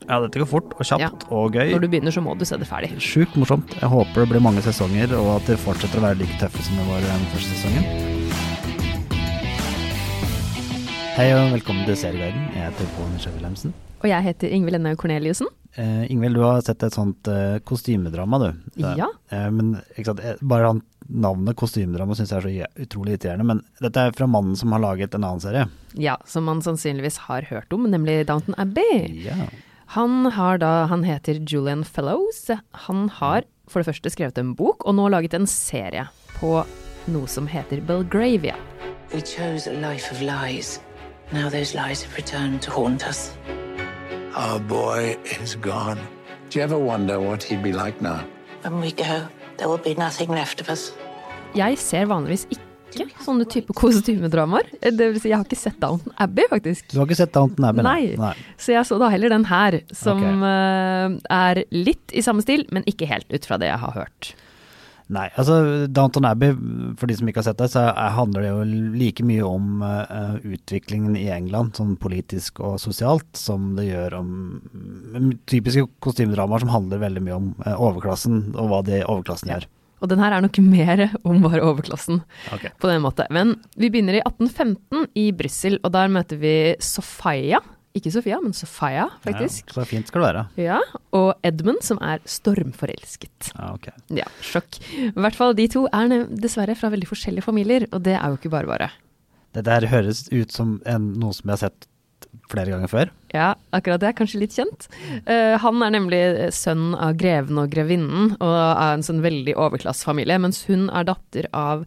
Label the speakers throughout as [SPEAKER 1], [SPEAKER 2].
[SPEAKER 1] Ja, dette går fort og kjapt
[SPEAKER 2] Ja.
[SPEAKER 1] og gøy.
[SPEAKER 2] Når du begynner, så må du se det ferdig.
[SPEAKER 1] Sjukt morsomt. Jeg håper det blir mange sesonger, og at det fortsetter å være like tøffe som det var den første sesongen. Hei og velkommen til Serieguiden. Jeg heter Pål Nisje Wilhelmsen.
[SPEAKER 2] Og jeg heter Ingvild Enne Corneliussen.
[SPEAKER 1] Eh, Ingvild, du har sett et sånt eh, kostymedrama, du. Det-
[SPEAKER 2] Ja.
[SPEAKER 1] Eh, men ikke sant, eh, bare han, navnet kostymedrama syns jeg er så je- utrolig irriterende. Men dette er fra mannen som har laget en annen serie.
[SPEAKER 2] Ja, som man sannsynligvis har hørt om, nemlig Downton Abbey.
[SPEAKER 1] Ja.
[SPEAKER 2] Han har da Han heter Julian Fellows. Han har for det første skrevet en bok, og nå laget en serie på noe som heter Belgravia.
[SPEAKER 3] We chose a life of lies. Now those lies have returned to haunt us.
[SPEAKER 4] Our boy is gone. Do you ever wonder what he'd be like now?
[SPEAKER 3] When we go, there will be nothing left of us.
[SPEAKER 2] Jeg ser vanligvis ikke sånne type kostymedramaer. Eh, Det vil si, jeg har ikke sett Downton Abbey, faktisk.
[SPEAKER 1] Du har ikke sett Downton Abbey?
[SPEAKER 2] Nei. Så jeg så da heller den her, som
[SPEAKER 1] Ok.
[SPEAKER 2] eh, er litt i samme stil, men ikke helt ut fra det jeg har hørt.
[SPEAKER 1] Nei, altså Downton Abbey, for de som ikke har sett det, så er- handler det jo like mye om eh, utviklingen i England, sånn politisk og sosialt, som det gjør om mm, typiske kostymedramaer som handler veldig mye om eh, overklassen, og hva det overklassen gjør.
[SPEAKER 2] Og den her er nok mer om bare overklassen. på den måten. Men vi begynner i 1815 i Brussel, og der møter vi Sofia. Ikke Sofia, men Sofia, faktisk.
[SPEAKER 1] Ja, så fint skal det være.
[SPEAKER 2] Ja, Og Edmund, som er stormforelsket.
[SPEAKER 1] Ja, ok.
[SPEAKER 2] Ja, sjokk. I hvert fall de to er nev- dessverre fra veldig forskjellige familier, og det er jo ikke bare bare.
[SPEAKER 1] Dette her høres ut som en, noe som jeg har sett flere ganger før.
[SPEAKER 2] Ja, akkurat det er kanskje litt kjent. Eh, han er nemlig eh, sønn av greven og grevinnen, og er en sånn veldig overklassefamilie, mens hun er datter av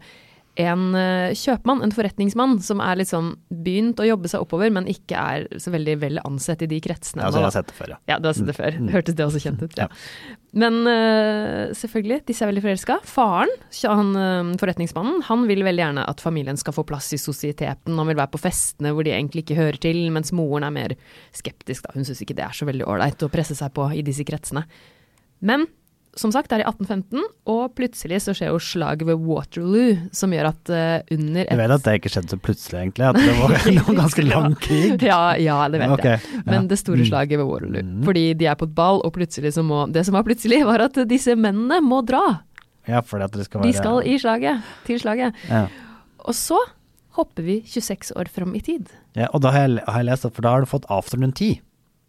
[SPEAKER 2] en eh, kjøpmann, en forretningsmann, som er litt sånn begynt å jobbe seg oppover, men ikke er så veldig vel ansett i de kretsene.
[SPEAKER 1] Altså, jeg
[SPEAKER 2] nå,
[SPEAKER 1] har
[SPEAKER 2] da.
[SPEAKER 1] sett det før, ja. Mm.
[SPEAKER 2] Ja, du har sett det før. Hørtes det også kjent ut?
[SPEAKER 1] Ja.
[SPEAKER 2] Ja. Men eh, selvfølgelig, disse er veldig forelska. Faren, han, eh, forretningsmannen, han vil veldig gjerne at familien skal få plass i sosieteten. Han vil være på festene hvor de egentlig ikke hører til, mens moren er mer skeptisk. Da. Hun syns ikke det er så veldig ålreit å presse seg på i disse kretsene. Men som sagt, det er i 1815, og plutselig så skjer jo slaget ved Waterloo, som gjør at eh, under
[SPEAKER 1] Jeg vet at det ikke skjedde så plutselig, egentlig. At det var en ganske lang krig.
[SPEAKER 2] ja, ja, det vet
[SPEAKER 1] Ok, Mm.
[SPEAKER 2] jeg. Men det store slaget ved Waterloo. Fordi de er på et ball, og plutselig så må Det som var plutselig, var at disse mennene må dra.
[SPEAKER 1] Ja, fordi at det skal være
[SPEAKER 2] De skal i slaget. Til slaget.
[SPEAKER 1] ja.
[SPEAKER 2] Og så hopper vi 26 år fram i tid.
[SPEAKER 1] Ja, og da har jeg, har jeg lest det, for da har du fått Afternoon Tea.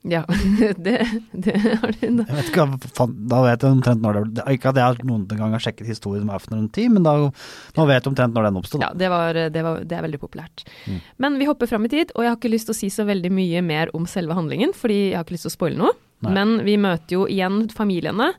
[SPEAKER 2] Ja, det, det har du.
[SPEAKER 1] Jeg vet ikke, hva faen- da vet jeg omtrent når det det er Ikke at jeg noen gang har sjekket historien om Afternoon Tea, men da, nå vet jeg omtrent når den oppstod.
[SPEAKER 2] Ja, det, var, det, var, det er veldig populært.
[SPEAKER 1] Mm.
[SPEAKER 2] Men vi hopper fram i tid, og jeg har ikke lyst til å si så veldig mye mer om selve handlingen, fordi jeg har ikke lyst til å spoile noe.
[SPEAKER 1] Nei.
[SPEAKER 2] Men vi møter jo igjen familiene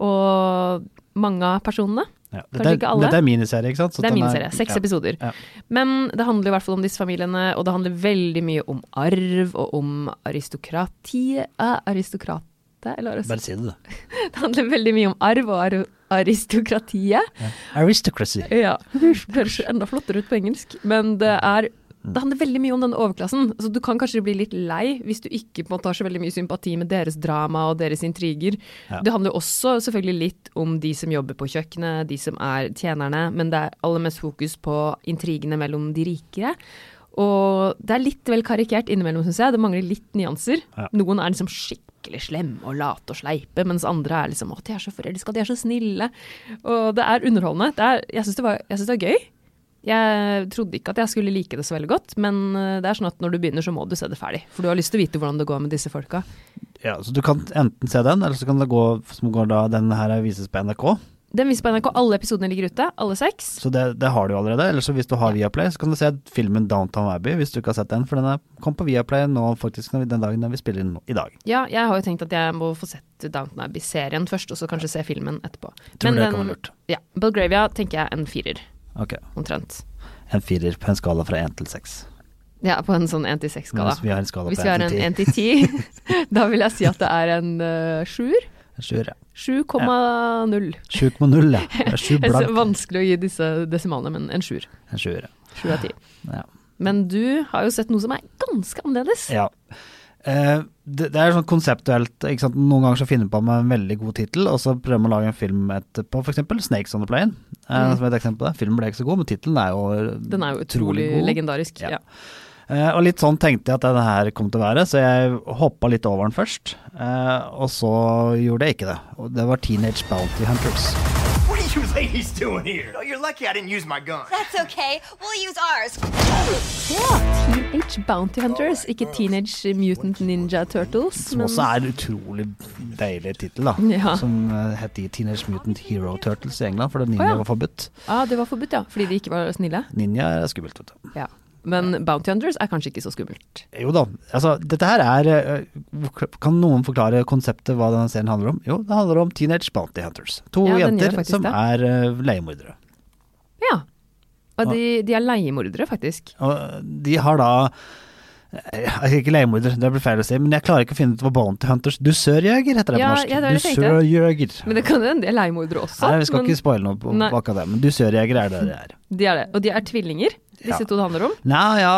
[SPEAKER 2] og mange av personene.
[SPEAKER 1] Ja,
[SPEAKER 2] kanskje
[SPEAKER 1] Dette, er-
[SPEAKER 2] ikke alle.
[SPEAKER 1] Dette er miniserie, ikke sant? Så
[SPEAKER 2] det er
[SPEAKER 1] den
[SPEAKER 2] min serie. Seks
[SPEAKER 1] ja.
[SPEAKER 2] episoder.
[SPEAKER 1] Ja.
[SPEAKER 2] Men det handler i hvert fall om disse familiene, og det handler veldig mye om arv og om aristokrati eh, Aristokrate, eller hva er det?
[SPEAKER 1] Bare si det, du.
[SPEAKER 2] Det handler veldig mye om arv og ar aristokratiet.
[SPEAKER 1] Aristocracy.
[SPEAKER 2] Ja, Høres enda flottere ut på engelsk, men det er det handler veldig mye om denne overklassen, så du kan kanskje bli litt lei hvis du ikke på en måte har så veldig mye sympati med deres drama og deres intriger.
[SPEAKER 1] Ja.
[SPEAKER 2] Det handler også selvfølgelig litt om de som jobber på kjøkkenet, de som er tjenerne, men det er aller mest fokus på intrigene mellom de rikere. Og det er litt vel karikert innimellom, syns jeg. Det mangler litt nyanser.
[SPEAKER 1] Ja.
[SPEAKER 2] Noen er liksom skikkelig slemme og late og sleipe, mens andre er liksom å, de er så forelska, de er så snille. Og det er underholdende. Det er, jeg syns det, var- jeg synes det var gøy. Jeg trodde ikke at jeg skulle like det så veldig godt, men eh, det er sånn at når du begynner, så må du se det ferdig. For du har lyst til å vite hvordan det går med disse folka.
[SPEAKER 1] Ja, så du kan enten se den, eller så kan det gå, som går da, den her vises på NRK.
[SPEAKER 2] Den viser på NRK, alle episodene ligger ute, alle seks.
[SPEAKER 1] Så det, det har du allerede. Eller så hvis du har Viaplay, så kan du se filmen Downtown Abbey, hvis du ikke har sett den, for den er, kom på Viaplay nå faktisk, når vi- den dagen den vi spiller inn nå, i dag.
[SPEAKER 2] Ja, jeg har jo tenkt at jeg må få sett Downton Abbey-serien først, og så kanskje se filmen etterpå.
[SPEAKER 1] Tror det
[SPEAKER 2] den-
[SPEAKER 1] kan være lurt.
[SPEAKER 2] Ja, Belgravia tenker jeg en firer,
[SPEAKER 1] Ok,
[SPEAKER 2] omtrent.
[SPEAKER 1] en firer på en skala fra 1 til 6.
[SPEAKER 2] Ja, på en sånn 1-6-skala.
[SPEAKER 1] Hvis vi har en skala
[SPEAKER 2] Hvis
[SPEAKER 1] på
[SPEAKER 2] vi har
[SPEAKER 1] 1
[SPEAKER 2] en
[SPEAKER 1] til 10.
[SPEAKER 2] 1-10, da vil jeg si at det er en eh, sjuer.
[SPEAKER 1] Sjuer, ja.
[SPEAKER 2] 7,0.
[SPEAKER 1] 7,0 ja. Det er Sju
[SPEAKER 2] Det er så
[SPEAKER 1] blank.
[SPEAKER 2] vanskelig å gi disse desimalene, men en sjuer.
[SPEAKER 1] En sjuer, ja.
[SPEAKER 2] Sju av ti.
[SPEAKER 1] Ja.
[SPEAKER 2] Men du har jo sett noe som er ganske annerledes.
[SPEAKER 1] ja. Eh, det, det er sånn konseptuelt. Ikke sant? Noen ganger så finner man på med en veldig god tittel, og så prøver man å lage en film etterpå, f.eks. 'Snakes on the Plane'. eh, Som et eksempel. Filmen ble ikke så god, men tittelen er jo
[SPEAKER 2] Den er jo utrolig
[SPEAKER 1] god.
[SPEAKER 2] legendarisk.
[SPEAKER 1] Ja.
[SPEAKER 2] Ja.
[SPEAKER 1] Eh, og litt sånn tenkte jeg at denne her kom til å være, så jeg hoppa litt over den først. Eh, og så gjorde jeg ikke det. Og det var Teenage Bounty Hunters.
[SPEAKER 5] What are you ladies doing here? Oh, you're lucky I didn't use my gun.
[SPEAKER 6] That's okay. We'll use ours.
[SPEAKER 2] Teenage Bounty Hunters, ikke Teenage Mutant Ninja Turtles.
[SPEAKER 1] Som også er en utrolig deilig tittel, da.
[SPEAKER 2] Ja.
[SPEAKER 1] Som eh, het de Teenage Mutant Hero Turtles i England, fordi ninja
[SPEAKER 2] Å, ja.
[SPEAKER 1] var forbudt.
[SPEAKER 2] ah, det var forbudt, ja. Fordi de ikke var snille.
[SPEAKER 1] Ninja er skummelt, vet du.
[SPEAKER 2] Ja. Men Bounty Hunters er kanskje ikke så skummelt.
[SPEAKER 1] Jo da, altså dette her er eh, Kan noen forklare konseptet hva denne serien handler om? Jo, det handler om Teenage Bounty Hunters. To
[SPEAKER 2] Ja, den gjør
[SPEAKER 1] jenter
[SPEAKER 2] faktisk
[SPEAKER 1] som
[SPEAKER 2] det.
[SPEAKER 1] er eh, leiemordere.
[SPEAKER 2] Ja. Og de, de er leiemordere, faktisk.
[SPEAKER 1] Og eh, de har da jeg Ikke leiemorder, det blir feil å si, men jeg klarer ikke å finne ut hva Bounty Hunters Dusørjeger heter det
[SPEAKER 2] Ja,
[SPEAKER 1] på norsk.
[SPEAKER 2] ja, det var det jeg tenkte.
[SPEAKER 1] Dusørjeger.
[SPEAKER 2] Men det kan jo hende de er leiemordere også.
[SPEAKER 1] Nei, vi skal
[SPEAKER 2] men
[SPEAKER 1] ikke spoile noe på-
[SPEAKER 2] Nei.
[SPEAKER 1] på akkurat det, men dusørjeger er det det er.
[SPEAKER 2] de er det. Og de er tvillinger, disse
[SPEAKER 1] Ja.
[SPEAKER 2] to det handler om.
[SPEAKER 1] Nei, ja,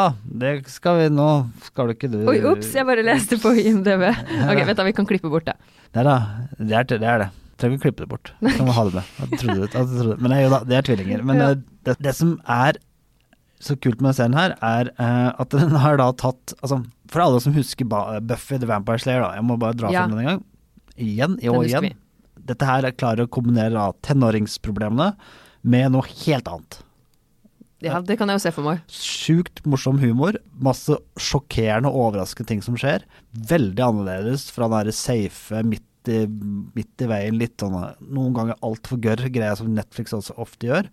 [SPEAKER 1] det skal vi nå Skal du ikke du
[SPEAKER 2] Oi, ops, jeg bare leste på IMDb. Ok, vet du, vi kan klippe bort det.
[SPEAKER 1] Nei da, det er det. Er det. Trenger ikke klippe det bort. Kan vi ha det med. Jeg trodde, det- jeg trodde. det. Men nei, jo da, det er tvillinger. Men
[SPEAKER 2] Ja.
[SPEAKER 1] eh, det, det som er så kult med den serien her, er eh, at den har da tatt Altså, for alle som husker ba Buffy the Vampire Slayer, da. Jeg må bare dra
[SPEAKER 2] Ja.
[SPEAKER 1] frem den en gang. Igjen, i
[SPEAKER 2] Den
[SPEAKER 1] år
[SPEAKER 2] husker
[SPEAKER 1] igjen. Dette her klarer å kombinere da, tenåringsproblemene med noe helt annet.
[SPEAKER 2] Ja, det kan jeg jo se for meg.
[SPEAKER 1] Sjukt morsom humor. Masse sjokkerende og overraskende ting som skjer. Veldig annerledes fra den derre safe, midt i, midt i veien, litt sånn noen ganger altfor gørr greia som Netflix også ofte gjør.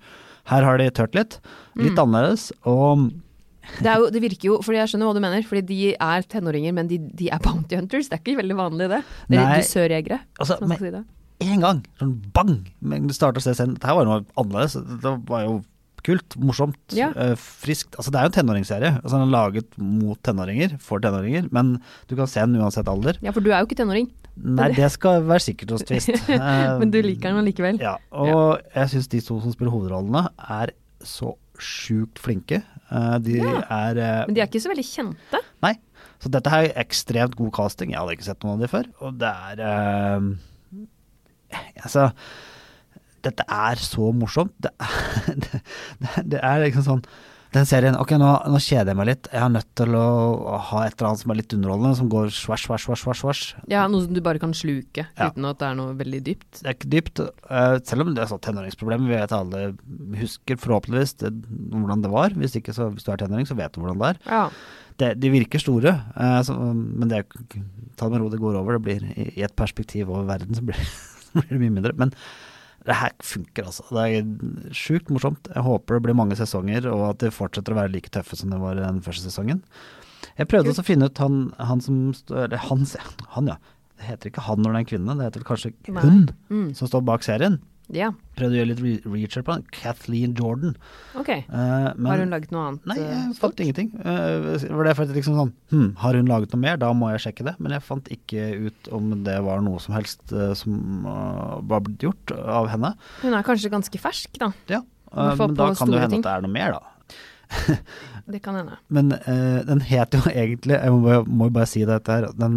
[SPEAKER 1] Her har de tørt litt. Litt annerledes. Og
[SPEAKER 2] Det, er jo, det virker jo, fordi jeg skjønner hva du mener, fordi de er tenåringer, men de, de er bounty hunters. Det er ikke veldig vanlig, det. Det
[SPEAKER 1] Nei.
[SPEAKER 2] er dusørjegere,
[SPEAKER 1] Altså,
[SPEAKER 2] som man skal si det.
[SPEAKER 1] én gang, sånn bang, men du starter å se scenen. Dette her var noe annerledes. Det var jo kult, morsomt,
[SPEAKER 2] Ja.
[SPEAKER 1] eh, friskt. Altså, det er jo en tenåringsserie. Altså, den er laget mot tenåringer, for tenåringer, men du kan se den uansett alder.
[SPEAKER 2] Ja, for du er jo ikke tenåring,
[SPEAKER 1] Nei, det skal være sikkert hos Twist.
[SPEAKER 2] men du liker den allikevel.
[SPEAKER 1] Ja, og jeg syns de to som spiller hovedrollene, er så sjukt flinke. Eh, De er eh,
[SPEAKER 2] Men de er ikke så veldig kjente.
[SPEAKER 1] Nei. Så dette her er ekstremt god casting. Jeg hadde ikke sett noen av de før. Og det er eh, Altså Dette er så morsomt. Det er, det, det er liksom sånn den serien Ok, nå, nå kjeder jeg meg litt. Jeg er nødt til å ha et eller annet som er litt underholdende, som går svæsj, svæsj, svæsj, svæsj, svæsj.
[SPEAKER 2] Ja, noe som du bare kan sluke,
[SPEAKER 1] Ja.
[SPEAKER 2] uten at det er noe veldig dypt.
[SPEAKER 1] det er ikke dypt. eh, selv om det er sånn tenåringsproblem, vi vet alle husker forhåpentligvis det, hvordan det var. Hvis ikke, så hvis du er tenåring, så vet du hvordan det er.
[SPEAKER 2] Ja.
[SPEAKER 1] Det, de virker store, eh, så, men det er- ta det med ro, det går over. Det blir i, i et perspektiv over verden, så blir, så blir det mye mindre. Men det her funker, altså. Det er sjukt morsomt. Jeg håper det blir mange sesonger, og at de fortsetter å være like tøffe som det var i den første sesongen. Jeg prøvde også å finne ut han, han som står Eller han, sier- han, ja. Det heter ikke han når det er en kvinne, det heter vel kanskje
[SPEAKER 2] Nei. Mm.
[SPEAKER 1] hun som står bak serien.
[SPEAKER 2] ja.
[SPEAKER 1] Prøvde å gjøre litt re- research på han. Kathleen Jordan.
[SPEAKER 2] Ok.
[SPEAKER 1] Eh, men,
[SPEAKER 2] Har hun laget noe annet?
[SPEAKER 1] Nei,
[SPEAKER 2] eh,
[SPEAKER 1] jeg
[SPEAKER 2] stort?
[SPEAKER 1] fant ingenting. Eh, det var det for at jeg liksom sånn hm, Har hun laget noe mer? Da må jeg sjekke det. Men jeg fant ikke ut om det var noe som helst eh, som eh, var blitt gjort av henne.
[SPEAKER 2] Hun er kanskje ganske fersk, da.
[SPEAKER 1] Ja,
[SPEAKER 2] hvert
[SPEAKER 1] eh,
[SPEAKER 2] fall
[SPEAKER 1] men da kan
[SPEAKER 2] på
[SPEAKER 1] det
[SPEAKER 2] store
[SPEAKER 1] jo hende
[SPEAKER 2] ting.
[SPEAKER 1] at det er noe mer, da.
[SPEAKER 2] Det kan hende.
[SPEAKER 1] Men eh, den het jo egentlig Jeg må, bare- må jo bare si dette her. Den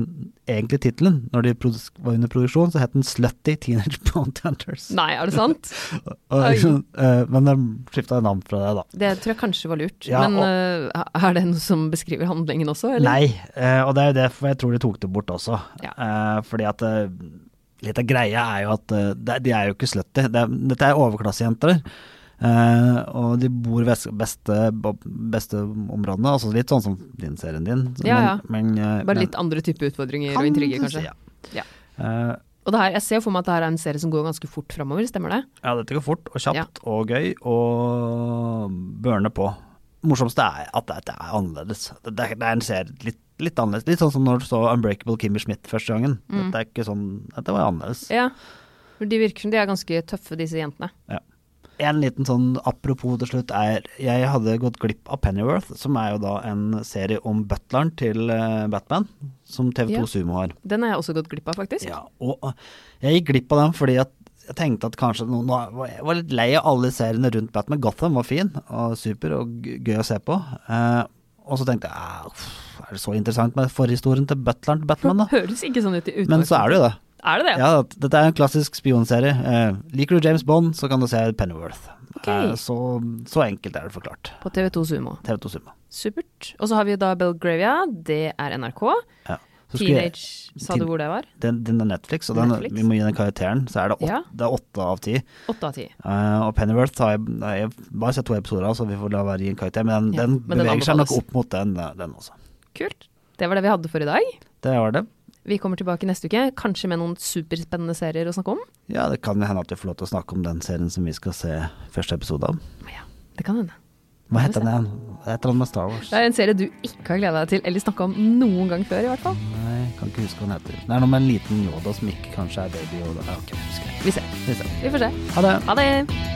[SPEAKER 1] egentlige tittelen, når de produ- var under produksjon, så het den Slutty Teenage Bounty Hunters.
[SPEAKER 2] Nei, er det sant?
[SPEAKER 1] Og
[SPEAKER 2] oi.
[SPEAKER 1] liksom, eh, men de skifta navn fra det, da.
[SPEAKER 2] Det tror jeg kanskje var lurt.
[SPEAKER 1] Ja,
[SPEAKER 2] men eh, er det noe som beskriver handlingen også, eller?
[SPEAKER 1] Nei, eh, og det er jo derfor jeg tror de tok det bort også.
[SPEAKER 2] Ja.
[SPEAKER 1] Eh, fordi at eh, litt av greia er jo at eh, det- de er jo ikke slutty. Det er, dette er overklassejenter. eh, og de bor i beste, beste, beste områdene, altså litt sånn som din serien din.
[SPEAKER 2] Ja,
[SPEAKER 1] Men, men, eh, men-
[SPEAKER 2] Bare litt andre type utfordringer og
[SPEAKER 1] Kan
[SPEAKER 2] intriger,
[SPEAKER 1] du si,
[SPEAKER 2] kanskje.
[SPEAKER 1] ja.
[SPEAKER 2] Ja.
[SPEAKER 1] Eh,
[SPEAKER 2] Og det her, jeg ser jo for meg at det her er en serie som går ganske fort framover, stemmer det?
[SPEAKER 1] ja, dette går fort og kjapt
[SPEAKER 2] Ja.
[SPEAKER 1] og gøy og børne på. Morsomste er at det det er annerledes. Det det er, det er en serie litt, litt annerledes. Litt sånn som når du så Unbreakable Kimmy Schmidt første gangen.
[SPEAKER 2] Mm.
[SPEAKER 1] Dette er ikke sånn, dette var annerledes.
[SPEAKER 2] Ja. For de virker som de er ganske tøffe, disse jentene.
[SPEAKER 1] En liten sånn apropos til slutt er Jeg hadde gått glipp av Pennyworth, som er jo da en serie om butleren til eh, Batman, som TV2
[SPEAKER 2] Ja.
[SPEAKER 1] Sumo har.
[SPEAKER 2] Den har jeg også gått glipp av, faktisk.
[SPEAKER 1] Ja, og eh, jeg gikk glipp av den fordi at jeg tenkte at kanskje noen nå var Jeg var litt lei av alle seriene rundt Batman. Gotham var fin og super og g- gøy å se på. Eh, og så tenkte jeg "Ah, uff, er det så interessant med forhistorien til butleren til Batman, da?
[SPEAKER 2] Høres ikke sånn ut i utgangspunktet.
[SPEAKER 1] Men så er det jo det.
[SPEAKER 2] Er det det?
[SPEAKER 1] Ja, at dette er en klassisk spionserie. Eh, liker du James Bond, så kan du se Pennyworth.
[SPEAKER 2] Ok.
[SPEAKER 1] Eh, så, så enkelt er det forklart.
[SPEAKER 2] På TV2 Sumo.
[SPEAKER 1] TV2 Summa.
[SPEAKER 2] Supert. Og så har vi jo da Belgravia, det er NRK.
[SPEAKER 1] Ja. Så skulle jeg-
[SPEAKER 2] Teenage, sa du
[SPEAKER 1] Teen-
[SPEAKER 2] hvor det var?
[SPEAKER 1] Den, den er Netflix, og den,
[SPEAKER 2] Netflix.
[SPEAKER 1] vi må gi den karakteren. Så er det åtte,
[SPEAKER 2] Ja.
[SPEAKER 1] det er åtte av ti.
[SPEAKER 2] Åtte av ti.
[SPEAKER 1] Eh, og Pennyworth har jeg, nei, jeg har bare sett to episoder av, så vi får la være å gi en karakter. Men den,
[SPEAKER 2] Ja,
[SPEAKER 1] den
[SPEAKER 2] men den
[SPEAKER 1] beveger seg nok
[SPEAKER 2] anbefales.
[SPEAKER 1] opp mot den, eh, den også.
[SPEAKER 2] Kult. Det var det vi hadde for i dag.
[SPEAKER 1] Det var det.
[SPEAKER 2] Vi kommer tilbake neste uke, kanskje med noen superspennende serier å snakke om.
[SPEAKER 1] Ja, det kan jo hende at vi får lov til å snakke om den serien som vi skal se første episode av.
[SPEAKER 2] Ja, det kan hende.
[SPEAKER 1] Hva heter den igjen? Det er et eller annet med Star Wars.
[SPEAKER 2] Det er en serie du ikke har gleda deg til eller snakka om noen gang før, i hvert fall.
[SPEAKER 1] Nei, jeg kan ikke huske hva den heter. Det er noe med en liten Yoda som ikke kanskje er baby Yoda. Ja, ok, husker jeg.
[SPEAKER 2] Vi ser.
[SPEAKER 1] Vi ser.
[SPEAKER 2] Vi får se.
[SPEAKER 1] Ha det.
[SPEAKER 2] Ha det.